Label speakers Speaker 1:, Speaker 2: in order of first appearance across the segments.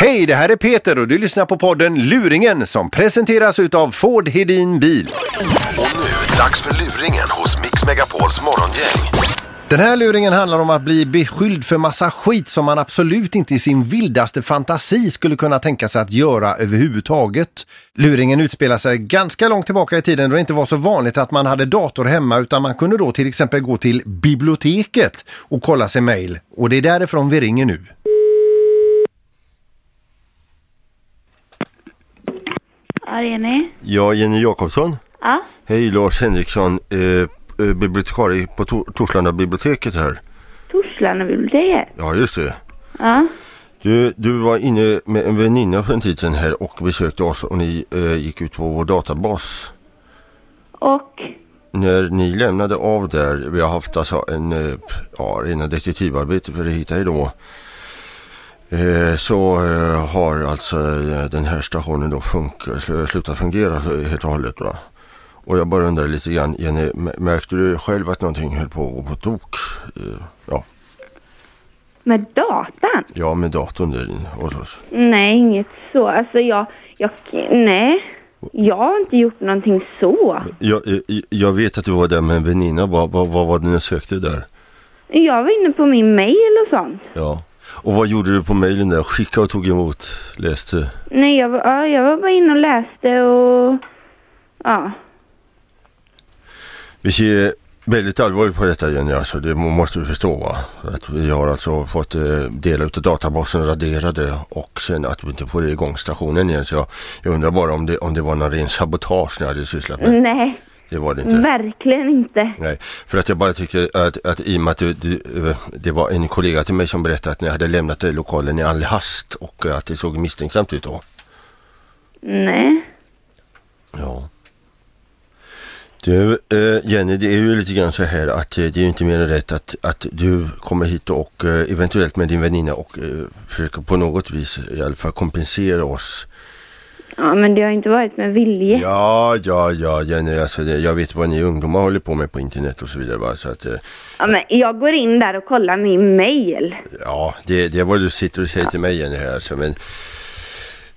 Speaker 1: Hej, det här är Peter och du lyssnar på podden Luringen som presenteras utav Ford Hedin Bil.
Speaker 2: Och nu, dags för luringen hos Mix Megapols morgongäng.
Speaker 1: Den här luringen handlar om att bli beskylld för massa skit som man absolut inte i sin vildaste fantasi skulle kunna tänka sig att göra överhuvudtaget. Luringen utspelar sig ganska långt tillbaka i tiden då det inte var så vanligt att man hade dator hemma utan man kunde då till exempel gå till biblioteket och kolla sin mail. Och det är därifrån vi ringer nu.
Speaker 3: Ja, det är ni.
Speaker 4: Ja, Jenny Jakobsson.
Speaker 3: Ja,
Speaker 4: Hej Lars Henriksson, eh, eh, bibliotekarie på Tor- Torslanda biblioteket här.
Speaker 3: Torslanda biblioteket.
Speaker 4: Ja, just det.
Speaker 3: Ja,
Speaker 4: Du, du var inne med en väninna för en tid sedan här och besökte oss och ni eh, gick ut på vår databas.
Speaker 3: och
Speaker 4: När ni lämnade av där, vi har haft alltså en, eh, ja, rena detektivarbete för att hitta er då. Eh, så eh, har alltså eh, den här stationen då funkar, sl- slutat fungera helt och hållet. Va? Och jag bara undrar lite grann, Jenny, m- märkte du själv att någonting höll på att gå på tok? Eh, ja,
Speaker 3: med datan.
Speaker 4: ja, med datorn där inne hos oss.
Speaker 3: Nej, inget så. Alltså jag, jag, nej. Jag har inte gjort någonting så.
Speaker 4: Jag, eh, jag vet att du var där med en väninna, vad, vad, vad var det ni sökte där?
Speaker 3: Jag var inne på min mail och sånt.
Speaker 4: Ja. Och vad gjorde du på mejlen där? Skickade och tog emot, läste?
Speaker 3: Nej, jag, var- ja, jag var bara inne och läste och ja.
Speaker 4: Vi ser väldigt allvarligt på detta Jenny, alltså, det må- måste vi förstå. Va? Att vi har alltså fått eh, delar av databasen raderade och sen att vi inte får igång stationen igen. Så jag, jag undrar bara om det, om det var någon ren sabotage ni hade sysslat med.
Speaker 3: Nej,
Speaker 4: Det var det
Speaker 3: Mm.
Speaker 4: inte.
Speaker 3: verkligen inte.
Speaker 4: Nej, för att jag bara tycker att, att i och med att du, du, eh, det var en kollega till mig som berättade att ni hade lämnat eh, lokalen i all hast och eh, att det såg misstänksamt ut då.
Speaker 3: Nej.
Speaker 4: Ja. Du, eh, Jenny, det är ju lite grann så här att eh, det är ju inte mer än rätt att, att du kommer hit och eh, eventuellt med din väninna och eh, försöker på något vis i alla fall kompensera oss.
Speaker 3: Ja, men det har inte varit med vilje.
Speaker 4: Ja, ja, ja, Jenny, alltså, det, jag vet vad ni ungdomar håller på med på internet och så vidare. Va? Så att, eh,
Speaker 3: Ja, men jag går in där och kollar min mail.
Speaker 4: ja, det, det är vad du sitter och säger till mig, Jenny, här alltså, men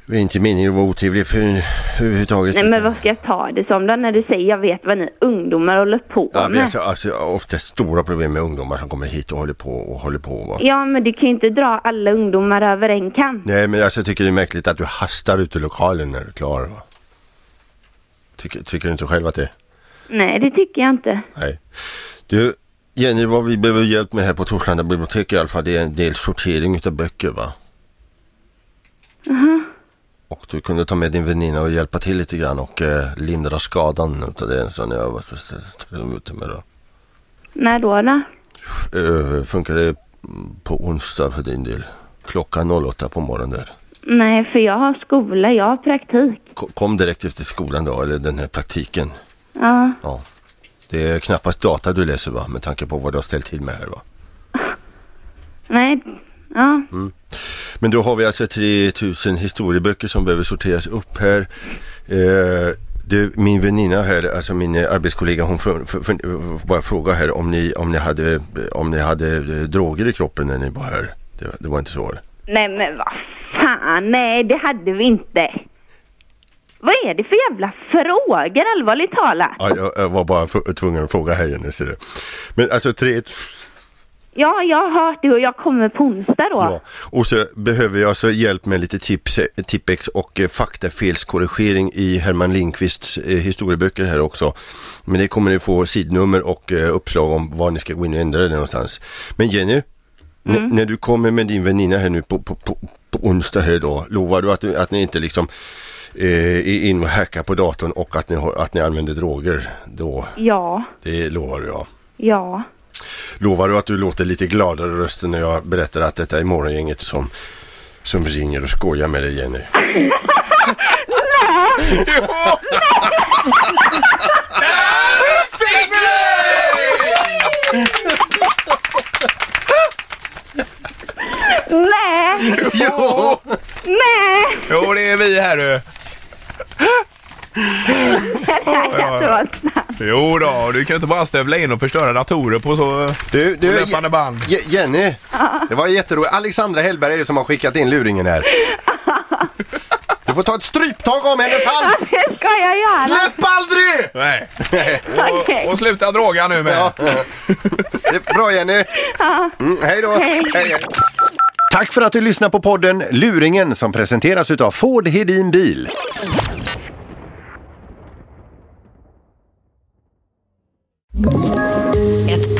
Speaker 4: det är inte meningen att vara otrevlig för överhuvudtaget.
Speaker 3: Nej, men
Speaker 4: utan-
Speaker 3: vad ska jag ta det som då när du säger jag vet vad ni ungdomar håller på
Speaker 4: Ja, vi
Speaker 3: med?
Speaker 4: har alltså, alltså, ofta stora problem med ungdomar som kommer hit och håller på och håller på. Va?
Speaker 3: Ja, men du kan ju inte dra alla ungdomar över en kam.
Speaker 4: Nej, men alltså, jag tycker det är märkligt att du hastar ut ur lokalen när du är klar. Va? Tycker, tycker du inte själv att det är?
Speaker 3: Nej, det tycker jag inte.
Speaker 4: Nej. Du, Jenny, vad vi behöver hjälp med här på Torslanda bibliotek i alla fall, det är en del sortering utav böcker, va? Och du kunde ta med din väninna och hjälpa till lite grann och eh, lindra skadan utav det som ni har varit ute med då.
Speaker 3: När då? då?
Speaker 4: Eh, funkar det mm, på onsdag för din del? Klockan 08 på morgonen där.
Speaker 3: Nej, för jag har skola, jag har praktik.
Speaker 4: Ko- Kom direkt efter skolan då, eller den här praktiken.
Speaker 3: Ja,
Speaker 4: Ja. Det är knappast data du läser va? Med tanke på vad du har ställt till med här va?
Speaker 3: nej, ja,
Speaker 4: Mm. Men då har vi alltså 3000 historieböcker som behöver sorteras upp här. Eh, du, min väninna här, alltså min eh, arbetskollega, hon för, för, för, bara fråga här om ni, om ni, hade, om ni hade eh, droger i kroppen när ni var här. Det, var- det var inte så?
Speaker 3: nej men vad fan, nej det hade vi inte. Vad är det för jävla frågor, allvarligt talat?
Speaker 4: Ja, jag, jag var bara för, tvungen att fråga här Jenny. ser du. Men alltså tre,
Speaker 3: Ja, jag har hört det och jag kommer på onsdag då.
Speaker 4: Ja. Och så behöver jag alltså hjälp med lite tips, tippex och eh, faktafelskorrigering i Herman Lindqvists eh, historieböcker här också. Men det kommer ni få sidnummer och eh, uppslag om var ni ska gå in och ändra det någonstans. Men Jenny, n- när du kommer med din väninna här nu på, på, på, på onsdag här då, lovar du att, du- att ni inte liksom eh, är in och hackar på datorn och att ni, har, att ni använder droger då?
Speaker 3: Ja,
Speaker 4: Det lovar du ja.
Speaker 3: ja,
Speaker 4: Lovar du att du låter lite gladare i rösten när jag berättar att detta är morgongänget som, som ringer och skojar med dig Jenny?
Speaker 3: nej,
Speaker 1: Jo,
Speaker 3: nej,
Speaker 1: jo det är vi här du.
Speaker 3: det här kan inte vara sant.
Speaker 5: Jo då, du kan ju inte bara stövla in och förstöra datorer på så...
Speaker 1: Du, du,
Speaker 5: Löpande band.
Speaker 1: Je- Jenny, det var jätteroligt. Alexandra Hellberg är det som har skickat in luringen här. Du får ta ett stryptag om hennes hals!
Speaker 3: Det ska jag göra.
Speaker 1: Släpp aldrig!
Speaker 5: Nej.
Speaker 3: Okej.
Speaker 5: Och, och sluta droga nu med.
Speaker 1: Det är Bra Jenny! Mm, hej då!
Speaker 3: Hej.
Speaker 1: hej. Tack för att du lyssnar på podden Luringen som presenteras utav Ford Hedin Bil.
Speaker 6: Ett